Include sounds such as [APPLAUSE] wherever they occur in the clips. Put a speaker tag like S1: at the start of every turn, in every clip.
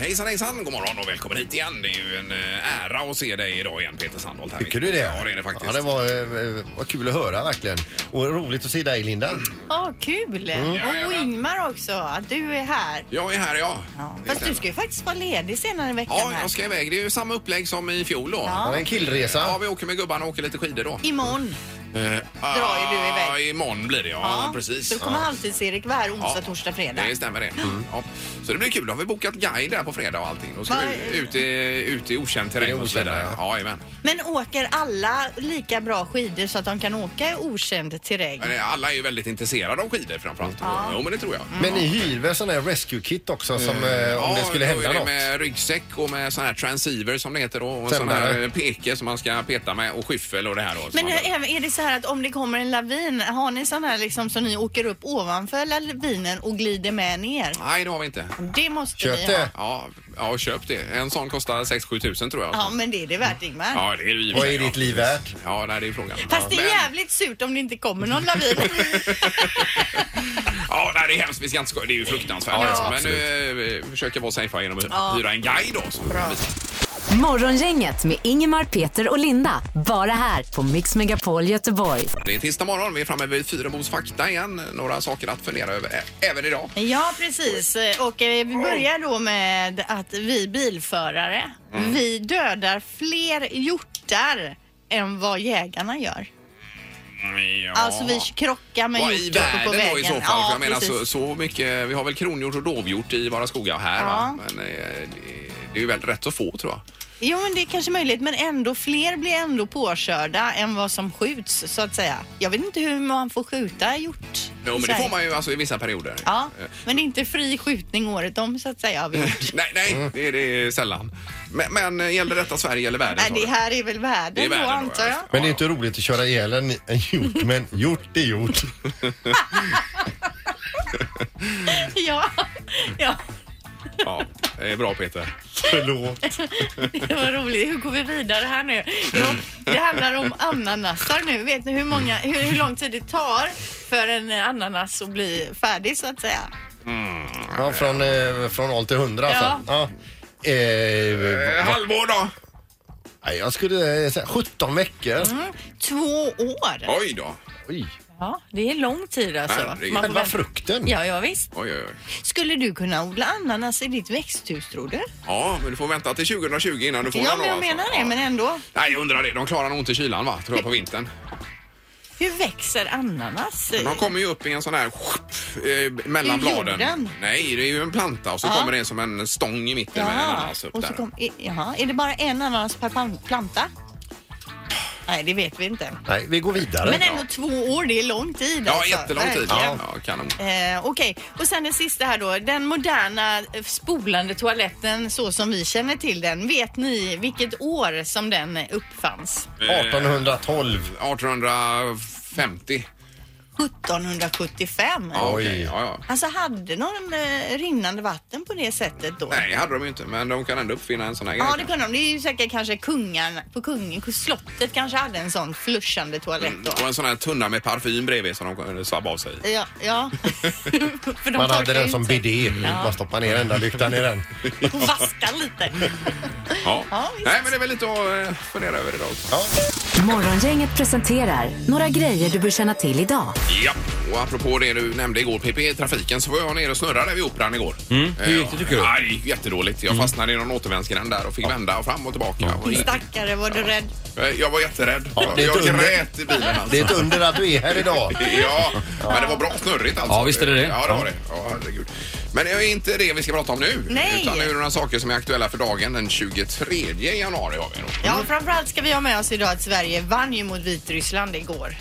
S1: Hejsan hejsan, god morgon och välkommen hit igen. Det är ju en eh, ära att se dig idag igen Peter Sandholt. här.
S2: Tycker du det?
S1: Ja det är det faktiskt.
S2: Ja, det var, eh, var kul att höra verkligen. Och roligt att se dig Linda.
S3: Ja, kul! Och Ingmar också, att du är här.
S1: Jag är här Mm. ja.
S3: Ja.
S1: Det
S3: Fast du
S1: stämmer.
S3: ska ju faktiskt vara ledig senare i veckan.
S1: Ja,
S3: här.
S1: jag ska iväg. Det är ju samma upplägg som i fjol då.
S3: Ja.
S2: Ja. En killresa.
S1: Ja, vi åker med gubbarna och åker lite skidor då.
S3: Imorgon.
S1: Eh,
S3: Drar ju du iväg.
S1: ah, Imorgon blir det ja, precis.
S3: Då kommer
S1: Ja.
S3: Halvtids-Erik vara här onsdag,
S1: Ja.
S3: torsdag, fredag.
S1: Det stämmer det.
S3: Mm.
S1: Ja. Så det blir kul. Då har vi bokat guide där på fredag och allting. Då ska
S3: Vad
S1: vi
S3: är-
S1: ut i, ut i okänd
S2: Det
S1: terräng
S2: är
S1: och så vidare.
S2: okända,
S1: Ja, jajamän.
S3: Men åker alla lika bra skidor så att de kan åka i okänd terräng?
S1: Men alla är ju väldigt intresserade av skidor framförallt. Ja. Jo, men det tror jag.
S2: Men ni hyr väl sån här rescue kit också som, eh, om det skulle
S1: Mm. då
S2: hända
S1: är det
S2: något?
S1: med ryggsäck och med sån här transceiver som det heter då. Och sån
S2: Sändare.
S1: här peke som man ska peta med och skyffel och det här då. som
S3: Men
S1: man-
S3: är är det så här att om det kommer en lavin, har ni sån här liksom som ni åker upp ovanför lavinen och glider med ner?
S1: Nej, det har vi inte.
S3: Det måste
S2: Köp
S3: ni ha.
S2: det.
S1: Ja, ja, köp det. En sån kostar 6-7 tusen tror jag.
S3: Ja, men det är det värt Ingmar.
S1: Ja, det är ju i och för
S2: Vad
S1: sig,
S2: är ditt
S1: ja.
S2: liv värt?
S1: Ja, nej, det är frågan.
S3: Fast det
S1: Ja,
S3: är
S1: men-
S3: jävligt surt om det inte kommer någon lavin.
S1: Ja, nej, det är hemskt. Vi ska inte skoja. Det är ju fruktansvärt.
S2: Ja,
S1: alltså. Men
S2: absolut.
S1: nu eh, vi försöker vara safea genom att hyra en guide då. Så.
S4: Morgongänget med Ingemar, Peter och Linda. Bara här på Mix Megapol Göteborg.
S1: Det är tisdag morgon. Vi är framme vid Fyrabos fakta igen. Några saker att fundera över ä- även idag.
S3: ja, precis. Och eh, vi börjar då med att vi bilförare,
S1: Mm.
S3: vi dödar fler hjortar än vad jägarna gör.
S1: Ja.
S3: Alltså vi krockar med
S1: Vad i
S3: hjort uppe på vägen.
S1: världen då i så fall?
S3: Ja,
S1: för jag menar alltså,
S3: precis.
S1: så, så mycket. Vi har väl kronhjort och dovhjort i våra skogar här. Va?
S3: Ja.
S1: Men eh, det, det är ju väl rätt så få tror jag.
S3: Jo, men det är kanske möjligt, men ändå fler blir ändå påkörda än vad som skjuts så att säga. Jag vet inte hur man får skjuta hjort.
S1: Jo, men det får man ju Eh. alltså i vissa perioder.
S3: Ja, men det är inte fri skjutning året om så att
S1: [LAUGHS]
S3: säga av hjort.
S1: Nej, nej, det är det är sällan. Men, men eh, gäller detta Sverige eller världen?
S3: Nej,
S1: sa
S3: det
S1: du?
S3: här är väl världen,
S1: Det är världen
S3: då
S1: då,
S3: antar
S1: ja,
S3: jag.
S1: just
S2: Men det är inte roligt att köra ihjäl en, en hjort, men gjort är gjort.
S3: Ja, [LAUGHS] ja,
S1: Ja, det är Eh, bra Peter.
S2: Förlåt.
S1: [LAUGHS]
S3: det var roligt. Hur går vi vidare här nu? Jo, det handlar om ananasar nu. Vet ni hur, många, hur, hur lång tid det tar för en ananas att bli färdig så att säga?
S1: Mm.
S2: Ja, från, eh, från 0 till 100 alltså. Ja. Eh,
S1: Eh, halvår då?
S2: nej, jag skulle eh, säga 17 veckor.
S3: Mm. Två år.
S1: Oj då.
S2: Oj.
S3: Ja, det är lång tid alltså.
S1: Herregud.
S3: Man får
S2: Själva
S3: vänta.
S2: frukten.
S3: Ja, ja, visst.
S1: Oj, oj, oj.
S3: Skulle du kunna odla ananas i ditt växthus tror du?
S1: Ja, men du får vänta till 2020 innan du får
S3: Ja,
S1: den
S3: men
S1: då,
S3: jag menar
S1: alltså.
S3: det,
S1: Ja.
S3: men ändå.
S1: Nej, jag undrar det. De klarar nog inte kylan va? Tror jag på vintern.
S3: Hur växer ananas?
S1: De kommer ju upp i en sån här eh, mellan
S3: Ur
S1: bladen.
S3: jorden?
S1: Nej, det är ju en planta och så kommer det som en stång i mitten med en ananas upp
S3: och så
S1: där.
S3: kom, i- jaha, är det bara en ananas per pan- planta? Nej, det vet vi inte.
S2: Nej, vi går vidare.
S3: Men ändå två år, det är lång tid.
S1: Ja,
S3: alltså.
S1: jättelång tid.
S3: Verkligen.
S1: Ja, kanon.
S3: Eh, Okej, och sen den sista här då. Den moderna eh, spolande toaletten så som vi känner till den. Vet ni vilket år som den eh, uppfanns?
S1: Eh,
S2: 1812.
S1: 1850.
S3: 1775.
S1: Ja,
S2: Oj.
S1: okej. ja, ja.
S3: Alltså hade de eh, rinnande vatten på det sättet då?
S1: Nej, det hade de ju inte, men de kan ändå uppfinna en sån här
S3: Ja, det
S1: grej.
S3: kunde de. Det är ju säkert kanske kungarna på kungen, slottet kanske hade en sån flushande toalett då.
S1: Mm, Och en sån här tunna med parfym bredvid som de kunde svabba av sig. i.
S3: Ja,
S2: [LAUGHS]
S3: ja. [LAUGHS] För de
S2: Man hade
S3: torkar
S2: den
S3: ut
S2: som
S3: sig.
S2: bidé. Man stoppar ner enda lyktan i den.
S3: [LAUGHS] Och vaska lite.
S1: Ja.
S3: Ja, visst.
S1: Nej, men det är väl lite att eh, fundera över idag.
S2: Ja.
S4: Morgongänget presenterar några grejer du bör känna till idag.
S1: Ja, och apropå det du nämnde igår, PP i trafiken, så var jag nere och snurrade vid Operan igår.
S2: Mm,
S1: Eh,
S5: hur gick det, tycker du?
S1: Ja, det gick jättedåligt. Jag fastnade i någon återvändsgränd där och fick vända och fram och tillbaka. Och,
S3: Stackare, var du rädd?
S1: eh, jag var jätterädd.
S2: Ja, det är
S1: jag
S2: ett under.
S1: grät i bilen alltså.
S2: Det är ett under att du är här idag.
S1: [LAUGHS] Ja, men det var bra snurrigt alltså.
S5: Ja, visst är det det.
S1: Ja, det var det. Ja, herregud. Men det är inte det vi ska prata om nu.
S3: Nej.
S1: Utan det är några saker som är aktuella för dagen den 23 januari har vi då.
S3: Ja, framförallt ska vi ha med oss idag att Sverige vann ju mot Vitryssland igår.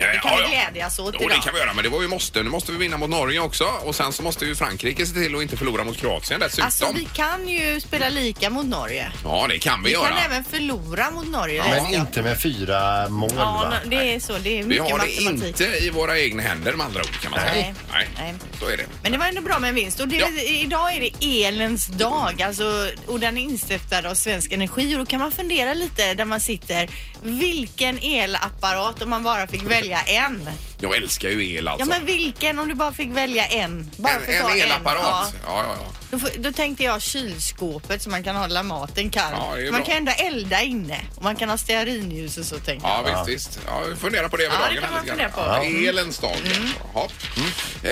S3: Det kan vi glädjas åt
S1: Jo, det
S3: idag.
S1: kan vi göra, men det var ju måste. Nu måste vi vinna mot Norge också och sen så måste ju Frankrike se till att inte förlora mot Kroatien dessutom.
S3: Alltså, vi kan ju spela lika mot Norge.
S1: Ja, det kan vi,
S3: Vi
S1: göra.
S3: kan även förlora mot Norge.
S2: Men inte med fyra mål
S3: Ja,
S2: va?
S3: no- det är så. Det är
S1: Vi
S3: mycket
S1: har det
S3: matematik.
S1: inte i våra egna händer med andra ord kan man säga.
S3: Nej.
S1: Nej.
S3: Nej.
S1: Så är det.
S3: Men det var ändå bra med en vinst. Och det,
S1: Ja.
S3: Idag är det elens dag alltså, och den är instiftad av Svensk Energi. Och då kan man fundera lite där man sitter. Vilken elapparat om man bara fick välja en?
S1: Jag älskar ju el
S3: Ja
S1: alltså.
S3: men vilken om du bara fick välja en? Bara
S1: en,
S3: för att ta
S1: en elapparat.
S3: Ja.
S1: Ja, ja, ja.
S3: Då, får- då tänkte jag kylskåpet så man kan hålla maten kall.
S1: Ja, det är
S3: man
S1: bra.
S3: kan ändå elda inne och man kan ha stearinljus och så tänkte jag.
S1: Ja, visst, visst. Ja, vi funderar på det över
S3: Ja, det
S1: dagen
S3: kan
S1: här
S3: man
S1: lite
S3: fundera Mm.
S1: grann. Ja, elens dag. Jaha.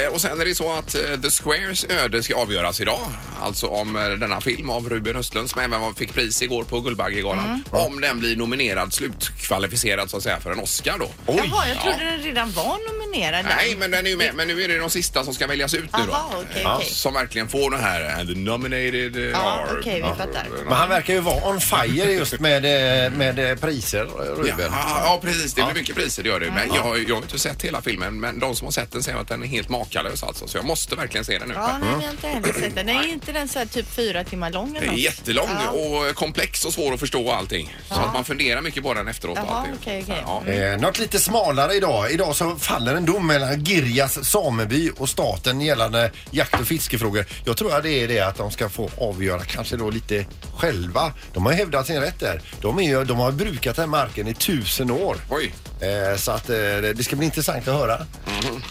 S1: Eh, och sen är det så att eh, The Squares öde ska avgöras idag. Alltså om eh, denna film av Ruben Östlund som även var- fick pris igår på Guldbaggegalan.
S3: Mm.
S1: Om den blir nominerad, slutkvalificerad så att säga för en Oscar då.
S2: Oj!
S3: Jaha, jag trodde
S1: Ja.
S3: den redan var nominerad. där.
S1: Nej, men den är ju med. Men nu är det de sista som ska väljas ut nu då.
S3: Jaha, okej,
S1: Eh,
S3: okej.
S1: Som verkligen får den här eh, the nominated eh,
S3: Ja,
S1: are-
S3: okej, vi
S1: Ja.
S3: fattar.
S2: Men han verkar ju vara on fire just med, eh, med eh, priser,
S1: Ja,
S2: Ruben.
S1: ja, precis. Det blir mycket priser, det gör det. Men jag, har- jag har inte sett hela filmen, men de som har sett den säger att den är helt makalös alltså. Så jag måste verkligen se den nu.
S3: Ja, nej, vi har inte heller sett den. Nej, är inte den så här typ fyra timmar lång
S1: Den
S3: eller
S1: är
S3: något?
S1: jättelång
S3: Ja.
S1: och komplex och svår att förstå och allting. Så att man funderar mycket på den efteråt. och
S3: Jaha,
S1: allting.
S3: okej, okej.
S1: Ja.
S2: Eh, något lite smalare idag. Idag så faller en dom mellan Girjas sameby och staten gällande jakt och fiskefrågor. Jag tror att det är det att de ska få avgöra kanske då lite själva. De har ju hävdat sin rätt där. De, är ju, de har brukat den här marken i tusen år.
S1: Oj.
S2: Eh, så att eh, det ska bli intressant att höra.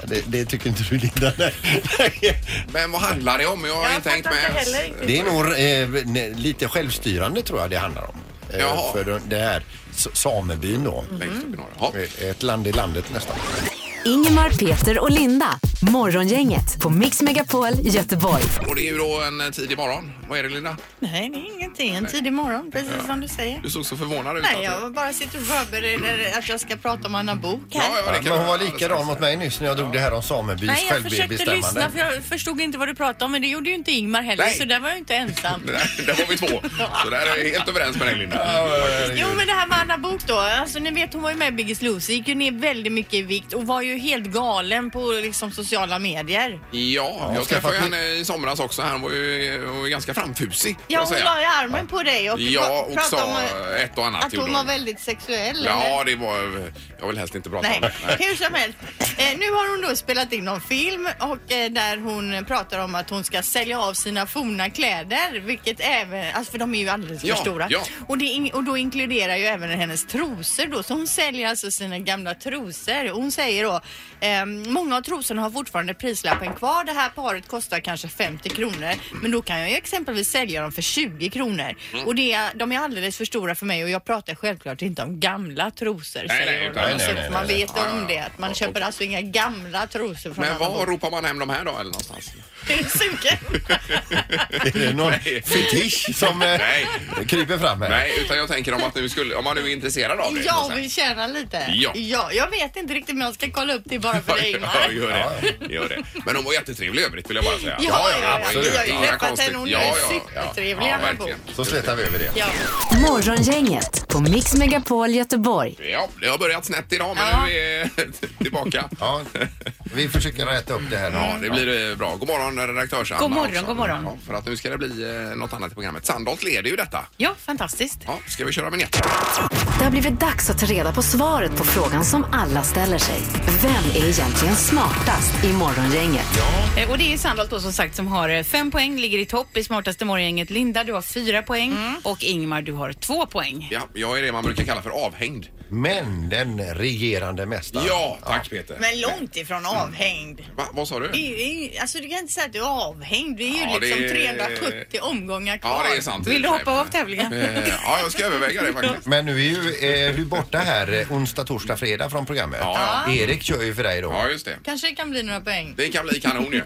S2: Det, det tycker inte du Linda? Nej.
S1: Mhm. [LAUGHS] Men vad handlar det om? Jag har
S3: Jag
S1: inte
S3: fattar
S1: hängt med.
S3: inte
S1: ens.
S3: heller riktigt.
S2: Det är nog eh, ne- lite självstyrande tror jag det handlar om. Eh,
S1: Jaha.
S2: För den- det här s- samebyn då.
S1: Längst
S3: Mm.
S1: upp i norr. Ja.
S2: Eh, Ett land i landet nästan.
S4: Ingemar, Peter och Linda. Morgongänget på Mix Megapol Göteborg.
S1: Och det är ju då en eh, tidig morgon. Vad är det Linda?
S3: Nej, det är ingenting. En tidig morgon, precis som du säger.
S1: Du såg så förvånad ut.
S3: Nej,
S1: att-
S3: jag bara sitter och förbereder att jag ska prata om Anna Bok här.
S1: Ja, ja, det
S2: Ja,
S1: kan
S2: men hon var
S1: alldeles
S2: likadan
S1: strax.
S2: mot mig nyss när jag drog det här om samebys
S3: Nej, jag försökte lyssna
S2: självbestämmande.
S3: för jag förstod inte vad du pratade om men det gjorde ju inte Ingmar heller
S1: Nej.
S3: så där var jag inte
S1: [LAUGHS]
S3: ensam.
S1: Det där, där har
S3: [LAUGHS]
S1: vi två. Så där är jag helt överens med dig Linda.
S3: Jo men det här med Anna Bok då, alltså ni vet hon var ju med i Biggest Loser, gick ju ner väldigt mycket i vikt och var ju helt galen på liksom sociala medier.
S1: Ja, jag
S2: skaffat
S1: träffade
S2: ny-
S1: henne i somras också. Han var ju, hon var ju ganska framfusig. får
S3: Ja
S1: jag
S3: hon
S1: säga.
S3: la ju armen på dig och
S1: Ja,
S3: pra-
S1: och
S3: pratade
S1: sa
S3: om
S1: ett och annat.
S3: att hon
S1: gjorde
S3: var väldigt sexuell. eller?
S1: Ja, det var... Jag vill helst inte prata
S3: Nej,
S1: om det. Nej.
S3: hur som helst. Eh, nu har hon då spelat in någon film och eh, där hon pratar om att hon ska sälja av sina forna kläder, vilket även, alltså för de är ju alldeles
S1: Ja,
S3: för stora.
S1: ja.
S3: Och, det, in- och då inkluderar ju även hennes trosor då, så hon säljer alltså sina gamla trosor. Och Hon säger då, ehm, många av trosorna har fortfarande prislappen kvar. Det här paret kostar kanske 50 kronor, men då kan jag ju exempelvis sälja dem för 20 kronor.
S1: Mm.
S3: Och det är, de är alldeles för stora för mig och jag pratar självklart inte om gamla trosor,
S1: Nej,
S3: säger
S1: nej,
S3: hon.
S1: utan-
S3: Och
S1: nej,
S3: så
S2: nej,
S3: får
S2: nej,
S3: man
S2: nej.
S3: veta
S1: Ja, ja,
S3: om
S1: ja.
S3: det, att man
S1: Och-
S3: köper alltså inga gamla trosor från
S1: Men
S3: Anna
S1: var
S3: Bok.
S1: ropar man hem de här då eller någonstans?
S3: Är du sugen?
S2: Är det någon
S1: [LAUGHS] Nej.
S2: fetisch som eh,
S1: Nej.
S2: kryper fram här?
S1: Nej, utan jag tänker om att nu skulle, om man nu är intresserad av det.
S3: Jag vill tjäna lite.
S1: Ja.
S3: jag vet inte riktigt men jag ska kolla upp det bara för
S1: Ja,
S3: dig
S1: ja,
S3: Ingmar.
S1: gör det. gör det. Men hon var jättetrevlig i övrigt vill jag bara säga.
S3: Ja, ja, ja,
S1: absolut.
S3: vi har ju
S1: Inga
S3: träffat
S1: konstigt-
S3: henne, hon är supertrevlig,
S1: Ja,
S3: Anna
S1: verkligen.
S2: Så slätar vi över det.
S3: Ja.
S4: Morgongänget på Mix Megapol Göteborg.
S1: Ja, det har börjat snett idag men
S3: Ja.
S1: nu är [LAUGHS] vi tillbaka.
S2: Ja, vi försöker rätta upp det här nu.
S1: Ja, det blir eh, bra. God morgon redaktörs-Anna.
S5: God morgon,
S1: också.
S5: god morgon.
S1: Ja, för att nu ska det bli eh, något annat i programmet. Sandholt leder ju detta.
S5: Ja, fantastiskt.
S1: Ja, ska vi köra vinjett?
S4: Det har blivit dags att ta reda på svaret på frågan som alla ställer sig. Vem är egentligen smartast i Morgongänget?
S5: Eh, Och det är Sandholt då som sagt som har eh, fem poäng, ligger i topp i smartaste morgongänget. Linda, du har fyra poäng och Ingmar, du har två poäng.
S1: Ja, jag är det man brukar kalla för avhängd.
S2: Men den regerande mästaren.
S1: Ja, tack Peter.
S3: Men långt ifrån avhängd.
S1: Va, vad sa du?
S3: Det är ju- Alltså du kan inte säga att du är avhängd. Det är ju
S1: Mm. Ja, det
S3: liksom
S1: är-
S3: 370 omgångar kvar.
S1: Ja, det är sant.
S5: Vill du hoppa av tävlingen?
S1: Eh, Ja, jag ska överväga det faktiskt.
S2: Men nu är ju eh, du borta här eh, onsdag, torsdag, fredag från programmet.
S1: Ja,
S2: Erik kör ju för dig då.
S1: Ja, just det.
S3: Kanske det kan bli några poäng.
S1: Det kan bli kanon ju.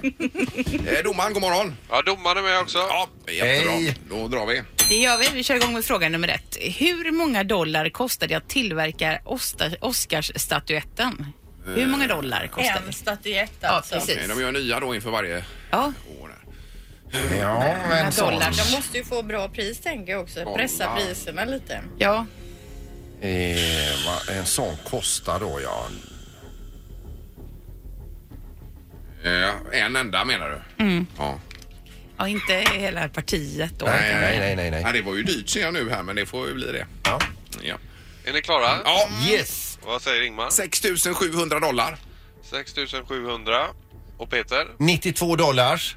S1: Eh, Domaren, god morgon.
S6: Ja, domaren är med också.
S1: Ja, jättebra.
S2: Hej.
S1: Då drar vi.
S5: Det gör vi. Vi kör igång med fråga nummer ett. Hur många dollar kostar det att tillverka Osta- Oscarsstatyetten? Hur många dollar kostar
S3: En
S5: det?
S3: statyett
S5: Ja,
S3: alltså.
S5: precis.
S1: Nej, de gör nya då inför varje
S5: Ja,
S1: år. här.
S2: Ja, men så.
S5: dollar.
S3: de måste ju få bra pris tänker jag också. Pressa priserna lite.
S5: Ja,
S2: Eh, vad en sån kostar då ja.
S1: Eh, En enda menar du? Ja.
S5: Mm. ja inte hela partiet då.
S2: Nej, nej, nej, nej.
S1: Ja, det
S2: nej.
S1: var ju dyrt ser jag nu här, men det får ju bli det.
S2: Ja.
S1: Ja.
S6: Är ni klara?
S1: ja.
S2: Yes!
S6: Vad säger Ingmar?
S1: 6 700 Mm. dollar.
S6: 6 700. Och Peter?
S2: 92 dollars.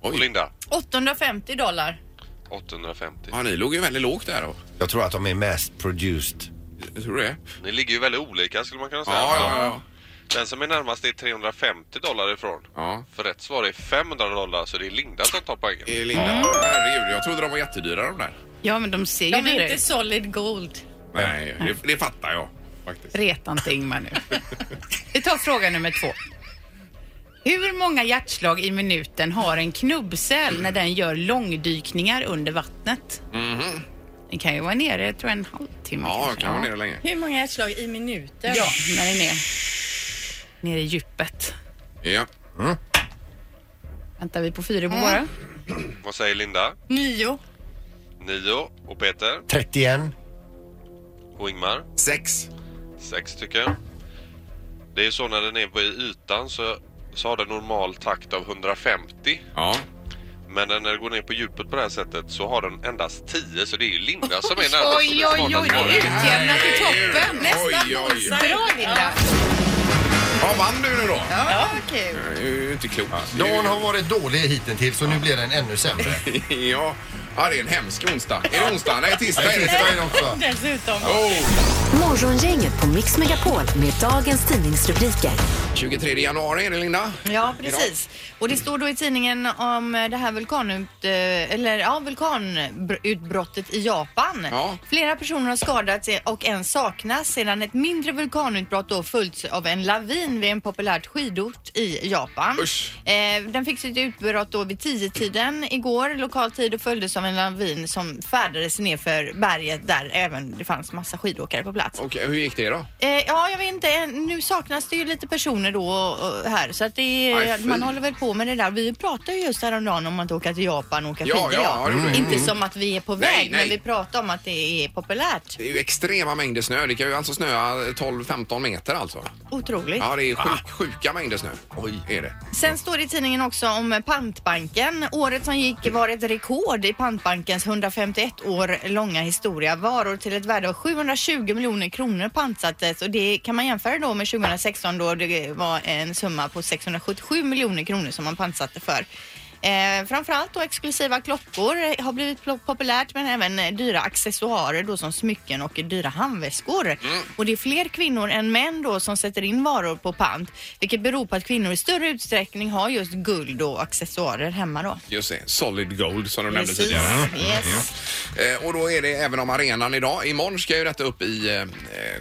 S6: Och Linda?
S3: 850 dollar.
S6: 850.
S1: Ja, ni låg ju väldigt lågt där. då.
S2: Jag tror att de är mest produced.
S1: Jag tror det.
S6: Ni ligger ju väldigt olika skulle man kunna säga.
S1: Ja, ja, ja.
S6: Den som är närmast är 350 dollar ifrån.
S1: ja.
S6: För rätt svar är 500 dollar så det är Linda som tar poängen.
S1: Eh, Linda, herregud, jag trodde de var jättedyra de där.
S5: Ja, men de ser ju
S3: De är
S5: dyra
S3: inte
S5: ut.
S3: solid gold.
S1: Nej, det, det fattar jag faktiskt.
S5: Reta inte Ingmar nu. Vi tar fråga nummer två. Hur många hjärtslag i minuten har en knubbsäl när den gör långdykningar under vattnet? Den kan ju vara nere, jag tror en halvtimme.
S1: Mhm. Ja, jag
S5: kanske.
S1: kan vara nere länge.
S3: Hur många hjärtslag i minuten?
S5: Ja, när den är nere i djupet.
S1: Ja.
S5: Väntar vi på fyra på våra?
S6: Vad säger Linda?
S3: Mm. Nio.
S6: 9 och Peter
S2: 31.
S6: och Ingmar.
S1: Sex.
S6: 6 stycken. Det är ju så när den är på ytan så, så har den normal takt av 150.
S1: Ja.
S6: Men när den går ner på djupet på det här sättet så har den endast 10 så det är ju Linda som är närmast.
S5: Oj, oj, oj, det är utjämnat i toppen.
S1: Oj, oj, oj.
S5: Bra Linda!
S1: Ja, vann du nu då?
S3: Ja, kul.
S1: Det är ju inte klokt. Det är
S2: Dagen
S1: ju-
S2: har varit dålig hittills så nu blir den ännu sämre.
S1: [LAUGHS] Ja. ja, det är en hemsk onsdag. Är det onsdag? Nej, tisdag
S2: Nej,
S1: är det.
S2: tisdagen [LAUGHS] också.
S3: Dessutom.
S1: Oh.
S4: Morgongänget på Mix Megapol med dagens tidningsrubriker.
S1: 23 januari är det, Linda.
S3: Ja, precis. Och det står då i tidningen om eh, det här vulkanut, eh, eller, ja, vulkanutbrottet i Japan.
S1: Ja.
S3: Flera personer har skadats eh, och en saknas sedan ett mindre vulkanutbrott då följts av en lavin vid en populärt skidort i Japan.
S1: Usch.
S3: Eh, den fick sitt utbrott då vid 10-tiden igår lokal tid och följdes av en lavin som färdades nerför berget där även det fanns massa skidåkare på plats.
S1: Okej, hur gick det då?
S3: Eh, ja, jag vet inte. Nu saknas det ju lite personer då och, och här så att det,
S1: Aj, fy.
S3: man håller väl på med det där. Vi pratade ju just häromdagen om att åka till Japan och åka
S1: Ja,
S3: skidor.
S1: ja, ja, det gjorde vi. Mm.
S3: Inte som att vi är på
S1: Nej,
S3: väg,
S1: nej.
S3: men vi pratade om att det är populärt.
S1: Det är ju extrema mängder snö. Det kan ju alltså snöa 12-15 meter alltså.
S3: Otroligt.
S1: Ja, det är sjuk, sjuka mängder snö. Oj. Är det.
S3: Sen står det i tidningen också om Pantbanken. Året som gick var ett rekord i Pantbankens 151 år långa historia. Varor till ett värde av 720 miljoner kronor pantsattes och det kan man jämföra då med 2016 då det var en summa på 677 miljoner kronor som man pantsatte för. Eh, framförallt då exklusiva klockor eh, har blivit plo- populärt men även eh, dyra accessoarer då som smycken och dyra handväskor.
S1: Mm.
S3: Och det är fler kvinnor än män då som sätter in varor på pant vilket beror på att kvinnor i större utsträckning har just guld och accessoarer hemma då.
S1: Just det, solid gold som de nämnde
S3: Precis.
S1: tidigare.
S3: Yes.
S1: Eh, och då är det även om arenan idag. Imorgon ska ju detta upp i eh,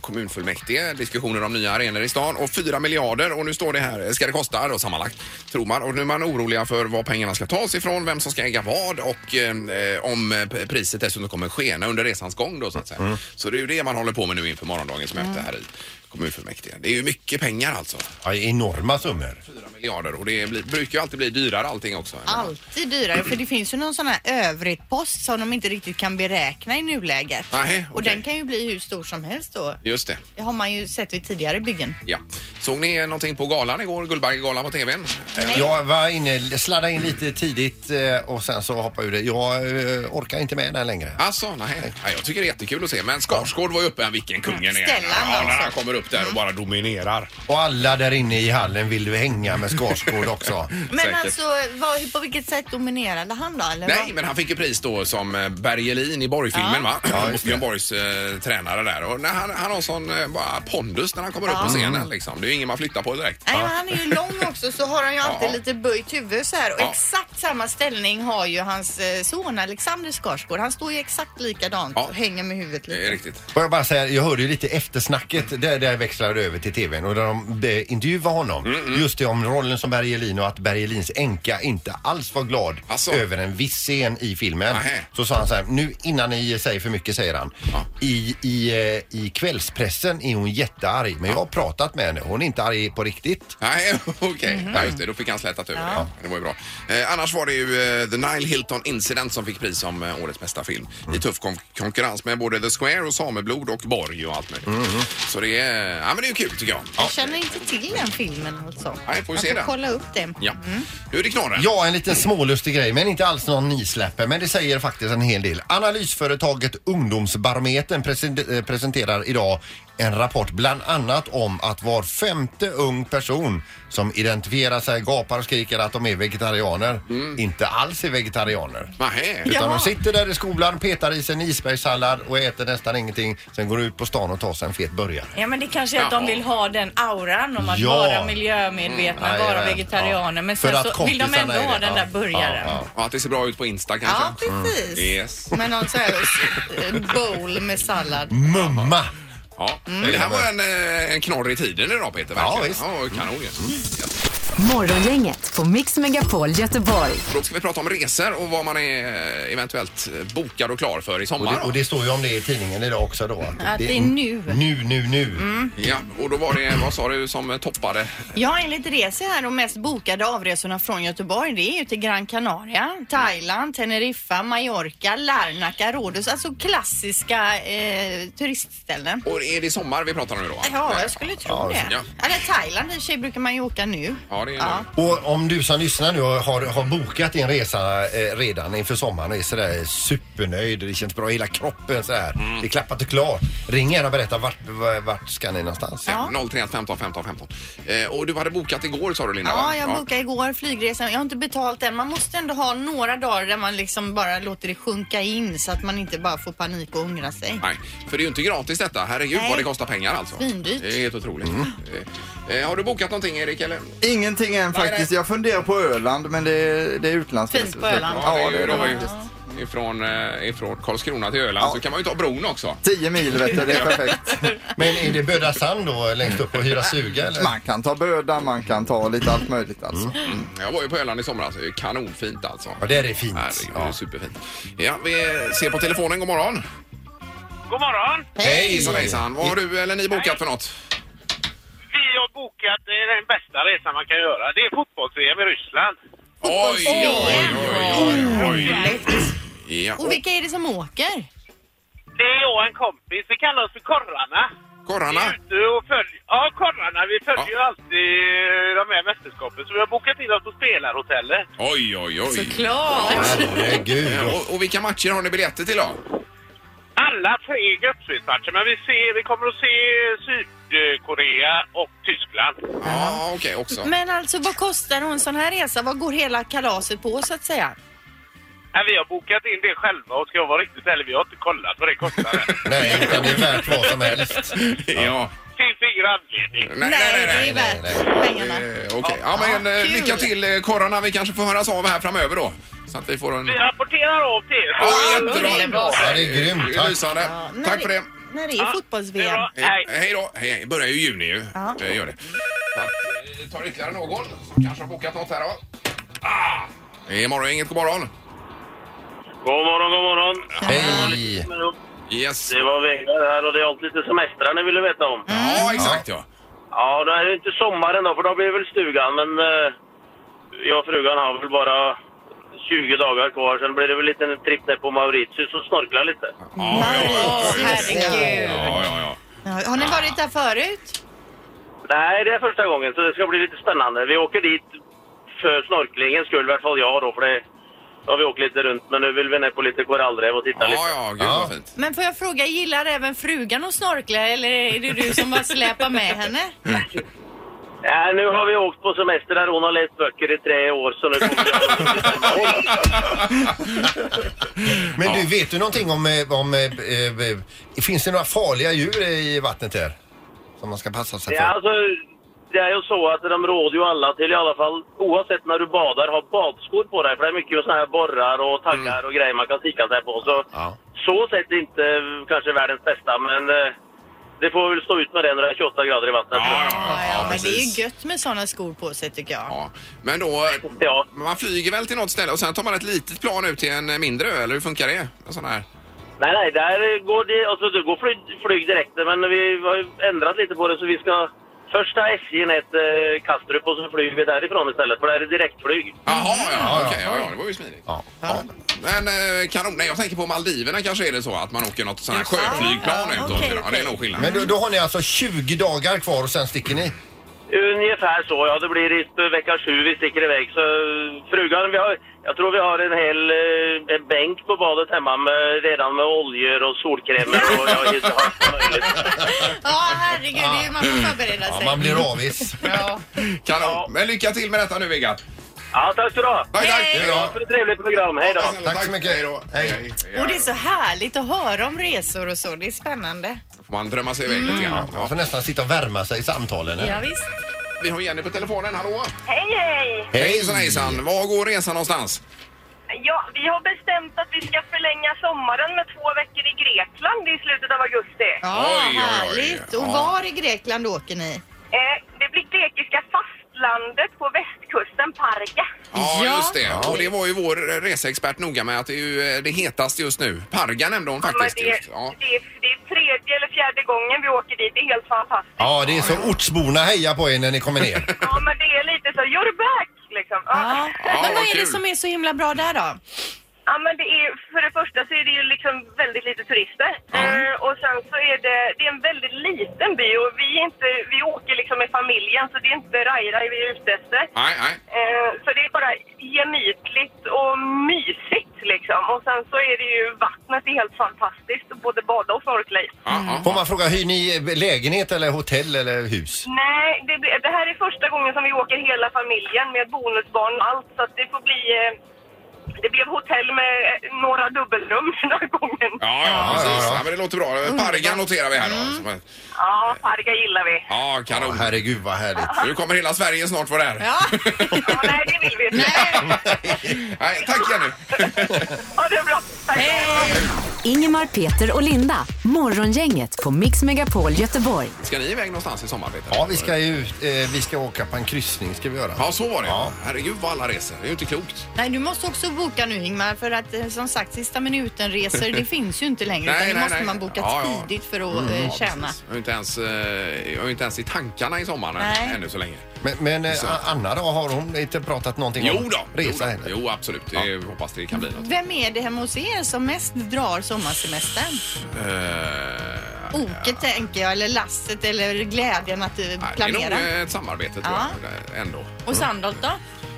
S1: kommunfullmäktige. Diskussioner om nya arenor i stan och 4 miljarder och nu står det här, eh, ska det kosta då sammanlagt tror man. Och nu är man oroliga för var pengarna ska tas ifrån, vem som ska äga vad och eh, om eh, priset dessutom kommer skena under resans gång då så att säga. Så det är ju det man håller på med nu inför morgondagens möte här i kommunfullmäktige. Det är ju mycket pengar alltså.
S2: Ja, enorma summor.
S1: 4 miljarder och det blir, brukar ju alltid bli dyrare allting också.
S3: Alltid dyrare för det finns ju någon sån här övrigt post som de inte riktigt kan beräkna i nuläget.
S1: Nej,
S3: Och
S1: okej.
S3: den kan ju bli hur stor som helst då.
S1: Just det.
S3: Det har man ju sett vid tidigare byggen.
S1: Ja. Såg ni någonting på galan igår? Guldbaggegalan på tvn?
S2: Jag var inne, sladdade in lite tidigt eh, och sen så hoppade jag ur det. Jag eh, orkar inte med den längre.
S1: Alltså, nej. nej. Jag tycker det är jättekul att se. Men Skarsgård var ju uppe, vilken kungen är.
S3: Stellan
S1: ja, när han
S3: alltså.
S1: kommer upp där och bara dominerar.
S2: Och alla där inne i hallen vill ju
S1: [LAUGHS]
S2: hänga med Skarsgård också.
S3: Men
S1: Säkert.
S3: alltså, vad, på vilket sätt dominerade han då? Eller
S1: Nej,
S3: vad?
S1: men han fick ju pris då som eh, Bergelin i Borg-filmen va? Björn Borgs eh, tränare där. Och när han, han har sån eh, bara pondus när han kommer upp på scenen liksom. Det är ju ingen man flyttar på direkt.
S3: Nej, men han är ju lång också så har han ju alltid
S1: Ja.
S3: lite böjt huvud så här. Och
S1: Ja.
S3: exakt samma ställning har ju hans eh, son Alexander Skarsgård. Han står ju exakt likadant
S1: Ja.
S3: och hänger med huvudet
S1: Det
S2: Eh,
S1: är
S3: lite.
S1: Eh, riktigt.
S2: Får jag bara säga, jag hörde ju lite eftersnacket där, där växlade över till tvn och där de be- intervjuade honom.
S1: Mm,
S2: Just det om rollen som Bergelin och att Bergelins änka inte alls var glad
S1: Asså.
S2: över en viss scen i filmen.
S1: Alltså. Nähä.
S2: Så sa han så här, nu innan ni säger för mycket säger han.
S1: Ja.
S2: I, i, eh, I kvällspressen är hon jättearg men jag har pratat med henne. Hon är inte arg på riktigt.
S1: Nej, [LAUGHS] okej. Ja, just det. Då fick han slätat över det. Det var ju bra. Eh, annars var det ju eh, The Nile Hilton Incident som fick pris som eh, årets bästa film.
S2: Mm.
S1: I tuff kon- konkurrens med både The Square och Sameblod och Borg och allt möjligt.
S2: Mm.
S1: Så det är, ja, men det är ju kul tycker jag. Ja.
S3: Jag känner inte till den filmen alltså.
S1: Nej, får vi
S3: Jag
S1: se
S3: får
S1: den.
S3: kolla upp den.
S1: ja. Nu är det knorren.
S2: Ja, en liten smålustig grej, men inte alls någon nisläppe. Men det säger faktiskt en hel del. Analysföretaget Ungdomsbarometern presen- eh, presenterar idag en rapport bland annat om att var femte ung person som identifierar sig, gapar och skriker att de är vegetarianer
S1: Mm.
S2: inte alls är vegetarianer.
S1: Nähä.
S2: Utan
S3: Jaha.
S2: de sitter där i skolan, petar i sig en isbergssallad och äter nästan ingenting. Sen går de ut på stan och tar sig en fet burgare.
S3: Ja men det kanske är att de
S1: Ja.
S3: vill ha den auran om att
S2: Ja.
S3: vara miljömedvetna,
S2: Mm,
S3: vara
S2: jajamän,
S3: vegetarianer.
S2: ja.
S3: Men
S2: För
S3: sen
S2: att
S3: så vill de
S2: kompisarna
S3: ändå
S2: är
S3: ha
S2: det,
S3: den
S2: ja.
S3: där burgaren.
S2: Ja,
S1: Ja, att det ser bra ut på Insta kanske. Mm.
S3: Ja, precis.
S1: Yes.
S3: Med någon sån här eh, bowl med sallad.
S2: Mumma!
S1: Ja.
S3: Mm.
S1: Det här var en, eh, en knorr i tiden idag Peter. verkligen.
S2: Ja, visst. Mm.
S1: ja kanon ju. Yes.
S4: Morgongänget på Mix Megapol Göteborg.
S1: Då ska vi prata om resor och vad man är eh, eventuellt bokad och klar för i
S2: Och
S1: sommar.
S2: det, och
S1: då.
S2: det står ju om det i tidningen idag också då.
S3: Att det är nu.
S2: Nu, nu, nu.
S1: Ja, och då var det, vad sa du, som eh, toppade?
S3: Ja, enligt Rese här de mest bokade avresorna från Göteborg det är ju till Gran Canaria, Thailand, Teneriffa, Mallorca, Larnaca, Rhodos. Alltså klassiska eh, turistställen.
S1: Och är det sommar vi pratar om nu då?
S3: Ja, jag skulle tro
S2: Ja,
S3: det.
S1: ja.
S3: Eller Thailand i och för sig brukar man ju åka nu.
S1: Ja, det är
S3: Ja.
S2: Och om du som lyssnar nu har, har bokat din resa eh, redan inför sommaren och är sådär supernöjd och det känns bra i hela kroppen sådär.
S1: Mm.
S2: Det är klappat och klart. Ring gärna och berätta vart, vart ska ni någonstans.
S1: Ja. 031 15 15 15. Eh, och du hade bokat igår sa du Linda?
S3: Ja,
S1: va?
S3: jag bokade igår flygresan. Jag har inte betalt än. Man måste ändå ha några dagar där man liksom bara låter det sjunka in så att man inte bara får panik och ångra sig.
S1: Nej, för det är ju inte gratis detta. Herregud
S3: Nej.
S1: vad det kostar pengar alltså.
S3: Svindyrt.
S1: Det är helt otroligt.
S2: Mm.
S1: Eh, Eh, har du bokat någonting Erik eller?
S7: Ingenting än faktiskt. Jag funderar på Öland men det är, det är utlandsresor.
S5: Fint på Öland.
S7: Ja, det är
S1: då
S7: det
S1: ju
S7: faktiskt.
S1: ifrån, eh, ifrån Karlskrona till Öland så kan man ju ta bron också.
S7: 10 mil vet du, det är
S5: [LAUGHS]
S7: perfekt.
S2: Men är det Böda Sand då längst upp och hyra suga eller?
S7: Man kan ta Böda, man kan ta lite allt möjligt alltså.
S1: Mm, Jag var ju på Öland i somras. Det är Kanonfint alltså.
S2: Ja, det är fint.
S1: Herregud, det är
S2: Ja.
S1: superfint. Ja, vi ser på telefonen. God morgon.
S8: God morgon!
S1: Hej! Hejsan, hejsan. Vad har du eller ni bokat för något?
S8: Vi har bokat det är den bästa resan man kan göra. Det är fotbolls-VM i Ryssland.
S1: Oj, oj, oj, oj, oj. Ja,
S3: Och vilka är det som åker?
S8: Det är jag och en kompis. Vi kallar oss för Korrarna. Vi
S1: korrarna.
S8: är ute och följer... Ja, Korrarna. Vi följer ju
S1: Ja.
S8: alltid eh, de här mästerskapen. Så vi har bokat in oss på spelarhotellet.
S1: Oj, oj, oj.
S5: Såklart!
S2: Herregud.
S1: Eh, Och, och vilka matcher har ni biljetter till då?
S8: Alla tre gruppspelsmatcher. Men vi, ser, vi kommer att se Sydkorea och Tyskland.
S1: Ja, okej också.
S3: Men alltså vad kostar en sån här resa? Vad går hela kalaset på så att säga?
S8: Ja, vi har bokat in det själva och ska jag vara riktigt ärlig, vi har inte kollat vad det kostar. än.
S2: [LAUGHS] Nej, utan det är värt vad som helst.
S1: Ja.
S8: Finns ingen anledning.
S1: Nej, nej, nej. nej.
S3: det är värt pengarna.
S1: Eh, Okej, ja, men eh,
S3: kul.
S1: lycka till eh, korrarna. Vi kanske får höras av här framöver då. Så att vi får en...
S8: Vi rapporterar av till er.
S1: Ja, jättebra!
S5: underbart.
S2: Ja, det är grymt.
S1: Det är
S2: Tack.
S1: lysande.
S3: Ja, när
S1: Tack för det.
S3: När det är
S8: Ja, det är
S3: fotbolls-VM.
S8: bra.
S1: Hej,
S8: Hej.
S1: hej då. Hej, hej. börjar ju i juni ju.
S3: Ja.
S1: Det gör det. Så att, eh, Vi tar ytterligare någon som kanske har bokat något här då. Ah! Eh, Morgon, inget god morgon.
S8: God morgon, god morgon.
S2: Hej!
S1: Yes.
S8: Det var Vegard här och det är alltid lite semestrar ni ville veta om.
S1: Ja, exakt ja.
S8: Ja, det är ju inte sommaren då för då blir det väl stugan men eh, jag och frugan har väl bara 20 dagar kvar. Sen blir det väl lite en tripp ner på Mauritius och snorkla lite.
S1: Ja, ja, ja, ja.
S3: Herregud.
S1: ja, ja, ja.
S3: Ja, Har ni varit där förut?
S8: Nej, det är första gången så det ska bli lite spännande. Vi åker dit för snorklingens skull, i alla fall jag då för det då har vi åkt lite runt men nu vill vi ner på lite korallrev och titta lite.
S1: Ja, ja, gud
S2: Ja.
S1: vad fint.
S3: Men får jag fråga, gillar även frugan att snorkla eller är det du som bara släpar med henne?
S8: Nej, nu har vi åkt på semester där hon har läst böcker i tre år så nu kommer
S1: [LAUGHS]
S8: jag...
S2: Men du, vet du någonting om... eh, om eh, eh, finns det några farliga djur i vattnet här? Som man ska passa sig
S8: Det
S2: för?
S8: är, alltså, det är ju så att de råder ju alla till i alla fall, oavsett när du badar, ha badskor på dig. För det är mycket sådana här borrar och taggar
S1: Mm.
S8: och grejer man kan sticka sig på. Så,
S2: Ja.
S8: så sett inte eh, kanske världens bästa, men eh, det får väl stå ut med det när det är 28 grader i vattnet.
S1: Ja,
S3: Ja,
S1: ja,
S3: ja,
S1: [LAUGHS] ja,
S3: men det är
S1: precis.
S3: ju gött med såna skor på sig tycker jag.
S1: Ja. Men då, eh,
S8: Ja.
S1: man flyger väl till något ställe och sen tar man ett litet plan ut till en eh, mindre ö, eller hur funkar det? En sån här.
S8: Nej, nej, där går det, alltså det går flyg, flyg direkt, men vi har ju ändrat lite på det så vi ska först ta SJ ner till eh, Kastrup och så flyger vi därifrån istället, för där är det direktflyg.
S1: Jaha, ja,
S2: ja.
S1: ja, okej, ja, ja, det var ju smidigt.
S2: Ja.
S1: Ja. Men eh, kanon, nej jag tänker på Maldiverna kanske är det så att man åker något sånt här sjöflygplan
S3: ja,
S1: ut.
S3: okej,
S1: och- Ja, det är
S3: okej.
S1: nog skillnad.
S2: Men då, då har ni alltså 20 dagar kvar och sen sticker ni?
S8: Ungefär så, ja. Det blir i sp- vecka sju vi sticker iväg. Så eh, frugan, vi har, jag tror vi har en hel eh, en bänk på badet hemma med, redan med oljor och solkrämer och jag har inte haft möjligt.
S3: Ja, herregud, det är ju- man får förbereda sig.
S2: Ja, man blir avis.
S5: Ja.
S1: [LAUGHS] Kanon. Men lycka till med detta nu, Vigga.
S8: Ja, tack så du ha!
S1: Tack, tack.
S3: Hej.
S1: Hej då.
S8: Tack för ett trevligt program. Hej då!
S2: Tack så mycket.
S1: Hej då.
S2: Hej.
S3: Och det är så härligt att höra om resor och så. Det är spännande.
S1: Får man drömma sig iväg lite grann.
S2: Man
S1: Ja.
S2: Mm. får nästan sitta och värma sig i samtalen. här.
S3: Ja, visst.
S1: Vi har Jenny på telefonen. Hallå!
S9: Hej, hej!
S1: Hejsan hejsan! Var går resan någonstans?
S9: Ja, vi har bestämt att vi ska förlänga sommaren med två veckor i Grekland i slutet av augusti.
S3: Ja,
S1: Oj, oj, oj.
S3: härligt. Och
S1: Ja.
S3: var i Grekland åker ni?
S9: Eh, det blir grekiska fastlandet på västkusten, Parga.
S1: Ja,
S3: Ja.
S1: just det. Och det var ju vår reseexpert noga med att det är ju eh, det hetaste just nu. Parga nämnde hon
S9: Men
S1: faktiskt.
S9: det,
S1: Just. Ja.
S9: det, är- det är tredje eller fjärde gången vi åker dit. Det är helt fantastiskt. Ja,
S2: Ja, det är så ortsborna hejar på er när ni kommer ner.
S9: men det är lite så, you're back! Liksom. Ja.
S3: Ja. Men vad
S1: vad
S3: är det
S1: kul.
S3: som är så himla bra där då?
S9: Ja, men det är, för det första så är det ju liksom väldigt lite turister. Eh, och sen så är det, det är en väldigt liten by och vi, är inte, vi åker liksom med familjen så det är inte raj-raj vi är ute efter.
S1: Nej, nej.
S9: Eh, så det är bara gemytligt och mysigt liksom. Och sen så är det ju vattnet är helt fantastiskt, både bada och snorkla i.
S1: Ja,
S2: Får
S1: ja.
S2: man fråga, hyr ni lägenhet eller hotell eller hus?
S9: Nej, det, blir- det här är första gången som vi åker hela familjen med bonusbarn och allt så att det får bli... Eh, det blev hotell med eh, några dubbelrum den här gången.
S1: Ja, ja, precis.
S2: ja, ja.
S1: Ja, men det låter bra. Parga noterar vi här då. Som ett-
S9: Ja, Parga gillar vi.
S1: Ja,
S2: Ja,
S1: kanon.
S2: herregud vad härligt.
S1: Nu kommer hela Sverige snart vara där. [LAUGHS]
S3: Ja.
S9: Ja, nej, det vill vi inte.
S1: Nej, tack Jenny.
S9: Ha det bra. Tack.
S4: Ingemar, Peter och Linda. Morgongänget på Mix Megapol Göteborg.
S1: Ska ni iväg någonstans i sommar, Peter?
S2: Ja, vi ska ju eh, vi ska åka på en kryssning ska vi göra.
S1: Ja, så var det. Herregud vad alla reser. Det är ju inte klokt.
S3: Nej, du måste också boka nu Ingmar för att eh, som sagt sista minuten-resor
S1: [LAUGHS]
S3: det finns ju inte längre
S1: Nej,
S3: utan det
S1: nej,
S3: måste
S1: nej.
S3: man boka
S1: Ja, ja. Mm.
S3: tidigt för att eh,
S1: Ja,
S3: tjäna.
S1: precis. Jag är ju inte ens, eh, jag är ju inte ens i tankarna i sommar
S3: Nej.
S1: än- ännu så länge.
S2: Men, men eh, Anna då, har hon inte pratat någonting
S1: Jo
S2: om
S1: då, jo,
S2: resa
S1: då.
S2: heller?
S1: jo absolut. Det är- hoppas det kan bli något.
S3: Vem är det hemma hos er som mest drar sommarsemestern?
S2: Mm.
S1: Eh,
S3: Oket tänker jag, eller lasset eller glädjen att eh,
S1: Nej, Det är
S3: planera.
S1: nog eh, ett samarbete tror
S3: Ja.
S1: jag eh, ändå.
S3: Och Sandholt då?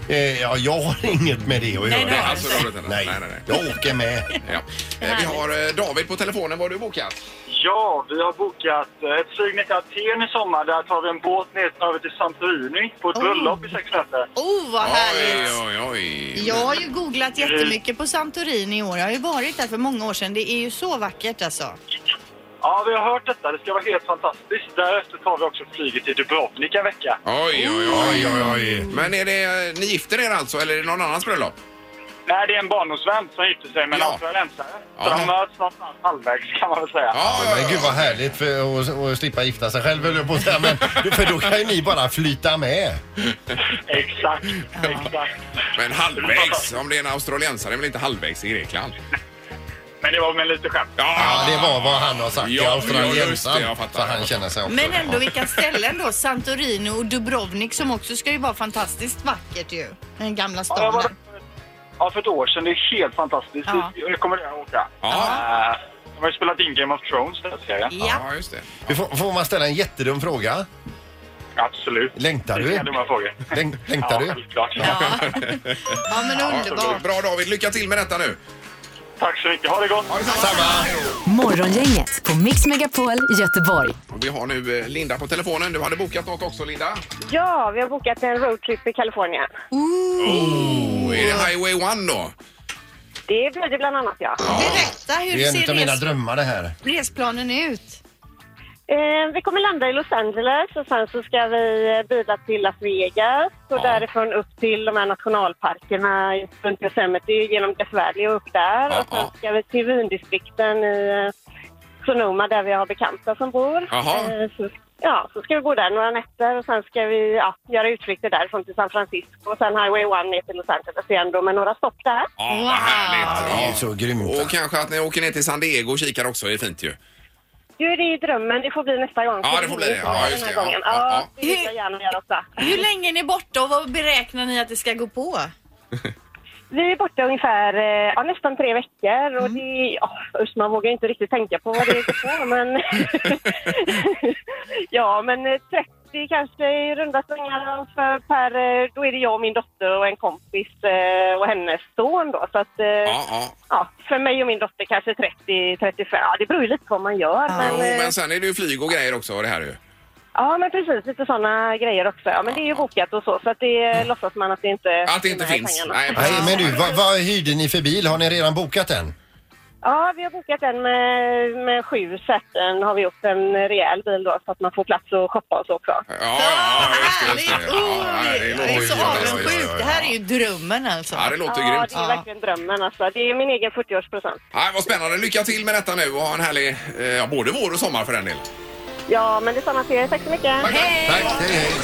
S2: Eh, ja, jag har inget med det att
S3: Nej,
S1: Nej,
S2: göra.
S3: det
S1: alltså, det har du inte.
S2: Nej,
S1: nej, nej. nej.
S2: jag åker med.
S1: Ja. Eh, Vi har eh, David på telefonen. Vad har du bokat?
S10: Ja, vi har bokat eh, ett flyg ner till Aten i sommar. Där tar vi en båt ner över till Santorini på ett
S3: Oh.
S10: bröllop i sex nätter.
S3: Oh, vad härligt!
S1: Oj, oj, oj.
S3: Jag har ju googlat jättemycket på Santorini i år. Jag har ju varit där för många år sedan. Det är ju så vackert alltså.
S10: Ja, vi har hört detta. Det ska vara helt fantastiskt. Därefter tar vi också flyget till Dubrovnik en vecka.
S1: Oj, oj, oj.
S2: Oj, oj, oj.
S1: Men är det, ni gifter er alltså eller är det någon annans bröllop?
S10: Nej, det är en barndomsvän som gifte sig med en
S1: Ja.
S10: australiensare. Så
S1: Ja.
S10: de möts någonstans halvvägs kan man väl säga.
S2: Men gud vad härligt för att, att slippa gifta sig själv höll jag på att säga. Men, för då kan ju ni bara flyta med.
S10: [LAUGHS] Exakt, exakt.
S1: Men halvvägs, om det är en australiensare, är väl inte halvvägs i Grekland?
S10: [LAUGHS] Men det var med lite skämt.
S2: Ja, det var vad han har sagt i
S1: Ja, ja,
S2: Australien.
S1: just det, jag fattar.
S2: Så han känner sig också.
S3: Men ändå vilka ställen då. Santorini och Dubrovnik som också ska ju vara fantastiskt vackert ju. Den gamla
S10: Ja, jag var
S3: staden.
S10: där för ett- ja, för ett år sedan. Det är helt fantastiskt.
S3: Ja.
S10: Jag rekommenderar att åka.
S1: Ja,
S10: Eh, De har ju spelat in Game of Thrones, den här serien.
S3: Ja.
S1: ja just det.
S2: Du Får, får man ställa en jättedum fråga?
S10: Absolut.
S2: Längtar du?
S10: Inga dumma frågor.
S2: Läng,
S10: Ja,
S2: längtar du?
S10: självklart.
S3: Ja. ja, men underbart.
S1: Bra David, lycka till med detta nu.
S10: Tack så mycket. Ha det gott!
S1: Samma.
S4: Morgongänget på Mix Megapol Göteborg.
S1: Vi har nu eh, Linda på telefonen. Du hade bokat något också Linda.
S9: Ja, vi har bokat en roadtrip i Kalifornien.
S2: Mm.
S1: Och är det Highway 1 då?
S9: Det blir det bland annat, ja.
S3: Berätta, hur
S2: Det är en
S3: ser
S2: utav mina
S3: res-
S2: drömmar det här.
S3: resplanen ut?
S9: Eh, vi kommer landa i Los Angeles och sen så ska vi eh, bila till Las Vegas och därifrån upp till de här nationalparkerna runt Yosemite genom Death Valley och upp där.
S1: Ja,
S9: och sen
S1: ja.
S9: ska vi till vindistrikten i eh, Sonoma där vi har bekanta som bor.
S1: Jaha.
S9: Eh, så, ja, så ska vi bo där några nätter och sen ska vi ja, göra utflykter därifrån till San Francisco och sen Highway 1 ner till Los Angeles igen då med några stopp där.
S1: Ja,
S3: Wow.
S1: vad härligt.
S2: Det är så grymt.
S1: Och kanske att ni åker ner till San Diego och kikar också, det är fint ju.
S9: Du, det är ju drömmen. Det får bli nästa gång.
S1: Ja, det får bli det. Ja, just det.
S9: Den här gången.
S1: Ja, ja,
S9: Ja,
S1: ja.
S9: det vill jag gärna göra också.
S3: Hur länge är ni borta och vad beräknar ni att det ska gå på?
S9: Vi är borta ungefär eh, ja, nästan tre veckor
S1: Mm.
S9: och det, ja, usch, man vågar ju
S1: [LAUGHS]
S9: inte riktigt tänka på vad det går på men ja men eh, 30 det är kanske i runda slängar för per, eh, då är det jag och min dotter och en kompis eh, och hennes son då. Så att, eh,
S1: ja.
S9: ja, för mig och min dotter kanske 30-35, ja det beror ju lite på vad man gör. Men,
S1: Jo,
S9: eh,
S1: men sen är det ju flyg och grejer också det här ju.
S9: Ja, men precis. Lite sådana grejer också. Ja, men det är ju bokat och så, så att det
S1: Mm.
S9: låtsas man att det inte,
S1: Att det inte
S9: de här
S1: finns.
S9: pengarna.
S1: Nej,
S2: Nej, men du, vad, vad hyrde ni för bil? Har ni redan bokat den?
S9: Ja, vi har bokat en med, med sju sätten. har vi gjort en rejäl bil då, så att man får plats att shoppa och så också.
S1: Ja, ja, just det, just det. Ja, nej, det
S3: Jag är
S1: låter
S3: så
S1: ju
S3: avundsjuk. Det här är ju drömmen alltså.
S1: Ja, det låter
S9: ja,
S1: grymt.
S9: det är verkligen drömmen alltså. Det är min egen 40-årspresent.
S1: Nej, vad spännande. Lycka till med detta nu och ha en härlig, eh, ja, både vår och sommar för den delen.
S9: Ja, men detsamma till er. Tack så mycket. Hej!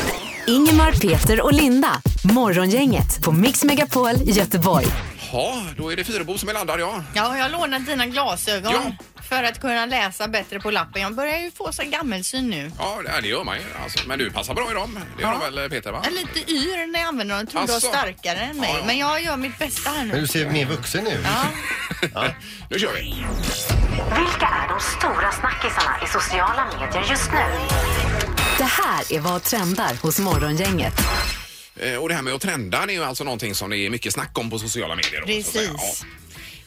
S4: Ingemar, Peter och Linda. Morgongänget på Mix Megapol Göteborg.
S1: Ja, då är det Fyrebo som är landad, ja.
S3: Ja, jag har lånat dina glasögon
S1: Ja.
S3: för att kunna läsa bättre på lappen. Jag börjar ju få så här gammelsyn nu.
S1: Ja, det- det gör man ju. Alltså, men du passar bra i dem. Det gör
S3: Ja.
S1: de väl, eh, Peter? Va?
S3: Jag är lite yr när jag använder dem. Jag tror du har
S1: Asså?
S3: starkare än mig.
S1: Ja, ja.
S3: Men jag gör mitt bästa här
S2: Men
S3: nu.
S2: du ser mer vuxen ut.
S1: Nu kör vi.
S4: Vilka är de stora snackisarna i sociala medier just nu? Det här är vad trendar hos Morgongänget.
S1: Eh, Och det här med att trenda det är ju alltså någonting som det är mycket snack om på sociala medier. Då, så att säga.
S3: Precis.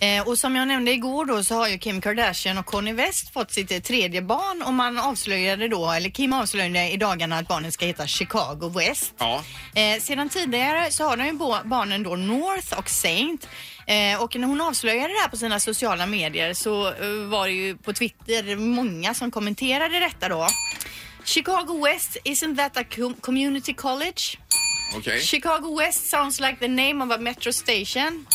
S3: Eh, och som jag nämnde igår då så har ju Kim Kardashian och Kanye West fått sitt eh, tredje barn och man avslöjade då, eller Kim avslöjade i dagarna att barnet ska heta Chicago West.
S1: Ja.
S3: Eh, sedan tidigare så har de ju bo- barnen då North och Saint. Eh, och när hon avslöjade det här på sina sociala medier så eh, var det ju på Twitter många som kommenterade detta då. Chicago West, isn't that a com- community college?
S1: Ja, Okej.
S3: Chicago West sounds like the name of a metro station.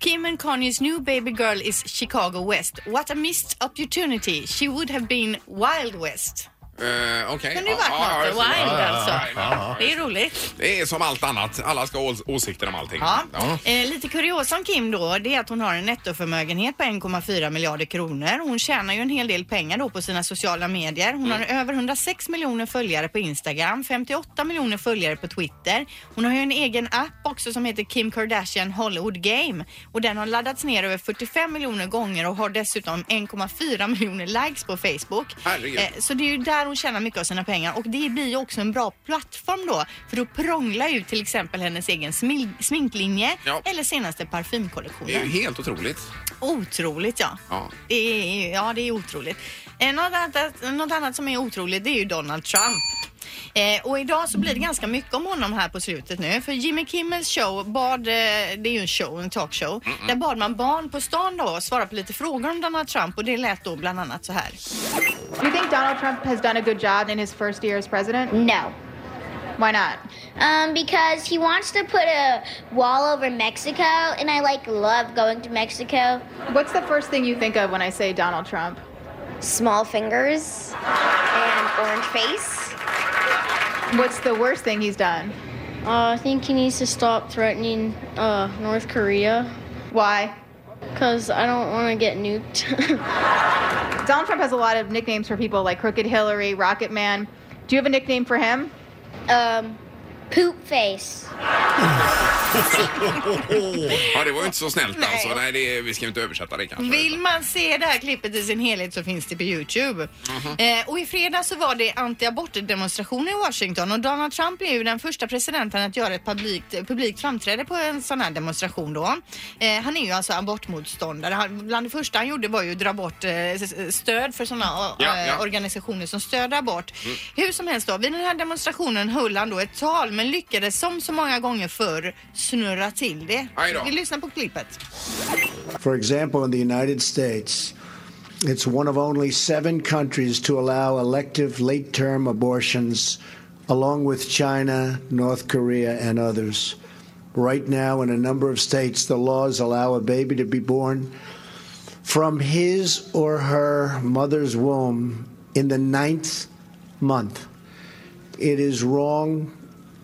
S3: Kim and Kanye's new baby girl is Chicago West. What a missed opportunity. She would have been Wild West.
S1: Eh, Okej.
S3: Kunde ju varit
S1: Ja, ja,
S3: något.
S1: just det.
S3: Wild alltså.
S1: ja,
S3: Det är roligt.
S1: Det är som allt annat. Alla ska ha ås- åsikter om allting.
S3: Ja. Eh, lite kuriosa om Kim då, det är att hon har en nettoförmögenhet på 1,4 miljarder kronor. Hon tjänar ju en hel del pengar då på sina sociala medier. Hon har över 106 miljoner följare på Instagram, 58 miljoner följare på Twitter. Hon har ju en egen app också som heter Kim Kardashian Hollywood Game och den har laddats ner över 45 miljoner gånger och har dessutom 1,4 miljoner likes på Facebook.
S1: Herregud.
S3: Eh, Så det är ju där hon tjänar mycket av sina pengar och det blir ju också en bra plattform då för att prångla ut till exempel hennes egen smil- sminklinje
S1: Ja.
S3: eller senaste
S1: Det är ju
S3: parfymkollektionen.
S1: helt
S3: [LAUGHS]
S1: otroligt.
S3: Otroligt ja.
S1: Ja.
S3: Det är, ja, det är otroligt. Eh, något, annat, något annat som är otroligt det är ju Donald Trump. Eh, och idag så blir det ganska mycket om honom här på slutet nu. För Jimmy Kimmels show bad, eh, det är ju en show, en talkshow, där bad man barn på stan då svara på lite frågor om Donald Trump och det lät då bland annat så här.
S11: Do you think Donald Trump has done a good job in his first year as president?
S12: No.
S11: Why not?
S12: Um, because he wants to put a wall over Mexico, and I like love going to Mexico.
S11: What's the first thing you think of when I say Donald Trump?
S12: Small fingers and orange face.
S11: What's the worst thing he's done?
S13: Uh, I think he needs to stop threatening uh, North Korea. Why? Because I don't want to get nuked. [LAUGHS]
S11: Donald Trump has a lot of nicknames for people like Crooked Hillary, Rocket Man. Do you have a nickname for him?
S12: Um, poop face.
S1: Ja, det var ju inte så snällt alltså. Nej, det, vi ska ju inte översätta det kanske.
S3: Vill man se det här klippet i sin helhet så finns det på Youtube. Eh, och i fredags så var det antiabortdemonstration i Washington och Donald Trump är ju den första presidenten att göra ett publikt, publikt framträde på en sån här demonstration då. Eh, han är ju alltså abortmotståndare. Han, bland det första han gjorde var ju att dra bort eh, s- s- stöd för såna eh,
S14: Ja, ja.
S3: organisationer som stöder abort.
S5: Mm.
S3: Hur som helst då, vid den här demonstrationen höll han då ett tal men lyckades som så många gånger förr snurra till det.
S15: Aj då.
S3: Vi lyssnar på klippet.
S15: For example, in the United States, it's one of only seven countries to allow elective late term abortions, along with China, North Korea, and others. Right now, in a number of states, the laws allow a baby to be born from his or her mother's womb in the ninth month. It is wrong.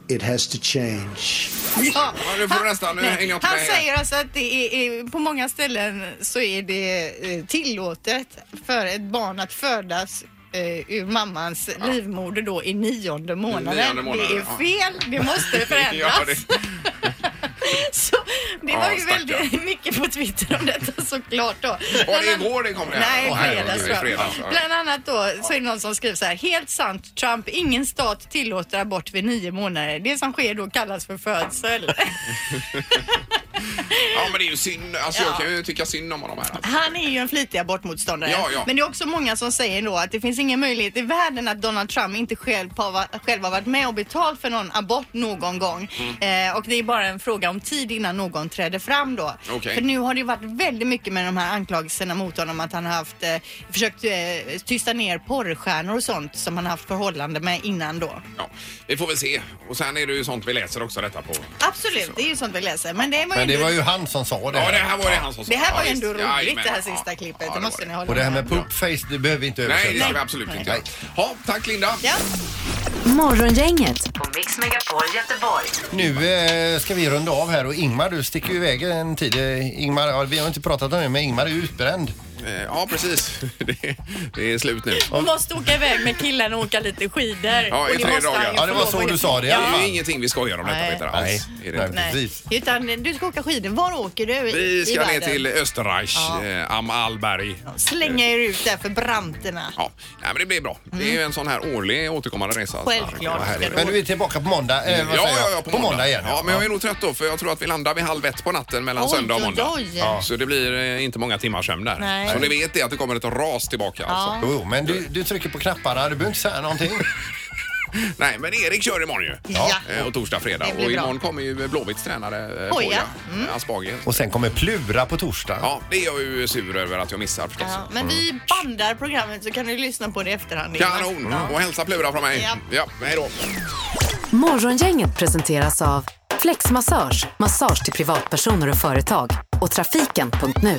S15: It has to change.
S3: [LAUGHS] Ja,
S1: nu får du nästan- eh, nu
S3: nej,
S1: hänger jag inte
S3: han
S1: med här.
S3: säger alltså att det är, är, på många ställen så är det eh, tillåtet för ett barn att födas eh, ur mammans livmoder då i nionde månaden.
S1: Nionde månaden,
S3: det är
S1: [LAUGHS] ja.
S3: fel, det måste förändras.
S1: Ja, det-
S3: Så det Det var ju väldigt [LAUGHS] mycket på Twitter om detta såklart då.
S1: Var det igår det kom alltså. det?
S3: Nej,
S1: Åh, herregud,
S3: fredags
S1: i
S3: tror jag.
S1: fredags, ja.
S3: [LAUGHS] Bland annat då så är det någon som skriver så här. Helt sant Trump, ingen stat tillåter abort vid nio månader. Det som sker då kallas för födsel.
S1: Ja, men det är ju synd. Alltså, Jag kan ju tycka synd om honom här. Alltså.
S3: Han är ju en flitig abortmotståndare.
S1: Ja, ja.
S3: Men det är också många som säger då att det finns ingen möjlighet i världen att Donald Trump inte själv har, själv har varit med och betalt för någon abort någon gång.
S2: Mm.
S3: Eh, och det är bara en fråga om tid innan någon träder fram då.
S14: Okej.
S3: För nu har det ju varit väldigt mycket med de här anklagelserna mot honom att han har haft, eh, försökt eh, tysta ner porrstjärnor och sånt som han haft förhållande med innan då.
S1: Ja, vi får väl se. Och sen är det ju sånt vi läser också detta på.
S3: Absolut, det är ju sånt vi läser. Men det var ju,
S2: Men det
S3: ändå-
S2: var ju han som sa det.
S1: Ja, det här var det han som sa.
S3: det här var ju
S1: Ja,
S3: ändå
S1: visst.
S3: roligt
S1: Jajamän.
S3: det här sista klippet. det måste ni hålla
S2: Och det här
S3: med
S2: med poopface, det behöver vi inte översätta.
S1: Nej, det ska vi absolut inte göra. Ja, tack Linda.
S4: Morgongänget
S14: På Mix Megapol Göteborg.
S2: Nu eh, ska vi runda av här och Ingmar, du sticker ju iväg en tid. Eh, Ingmar, ja, vi har inte pratat om det, men Ingmar är ju utbränd.
S1: Ja, Eh, precis. [LAUGHS] Det, är slut nu.
S3: Hon måste åka iväg med killen och åka lite skidor.
S1: Ja, i
S3: Och det
S1: tre
S3: måste han ju
S1: dagar.
S3: få lov att-
S1: Det är ju ingenting vi skojar om detta,
S3: Nej.
S1: Peter. Alls.
S2: Nej,
S1: Är det inte.
S3: Nej. Utan du ska åka skidor. Var åker du? i-
S1: Vi
S3: i
S1: ska ner
S3: världen?
S1: till Österreich,
S3: Ja.
S1: eh, Am Alberg.
S3: Slänga er ut där för branterna.
S1: Ja, nej, men det blir bra. Det är
S2: Mm.
S1: ju en sån här årlig återkommande resa.
S3: Självklart.
S1: Vad härligt.
S2: Men du är tillbaka på måndag, eh,
S1: Ja,
S2: vad
S1: ja,
S2: säger jag?
S1: ja, på, måndag.
S2: igen.
S1: Ja, men jag är nog trött då för jag tror att vi landar vid halv ett på natten mellan
S2: Oj,
S1: söndag och
S2: oj,
S1: måndag.
S2: oj. Ja.
S1: Så det blir eh, inte många timmars sömn där.
S2: Nej.
S1: Så ni vet det att det kommer ett ras tillbaka.
S2: Ja.
S1: Alltså.
S2: Jo, men du, du trycker på knapparna, du behöver inte säga någonting.
S1: [LAUGHS] Nej, men Erik kör imorgon ju.
S2: Ja.
S1: Eh, Och torsdag, fredag.
S2: Det
S1: Och
S2: blir bra. Mm.
S1: imorgon kommer ju Blåvitts tränare eh,
S2: Poja.
S1: Poja Asbaghi.
S2: Och sen kommer Plura på torsdag.
S1: Ja, det är jag ju sur över att jag missar förstås.
S3: Ja, men
S1: Mm.
S3: vi bandar programmet så kan du lyssna på det i efterhand. Ingmar.
S1: Kanon!
S3: Ja.
S1: Och hälsa Plura från mig.
S3: Ja.
S1: Ja, hej då.
S4: Morgongänget presenteras av Flexmassage, massage till privatpersoner och företag och trafiken.nu.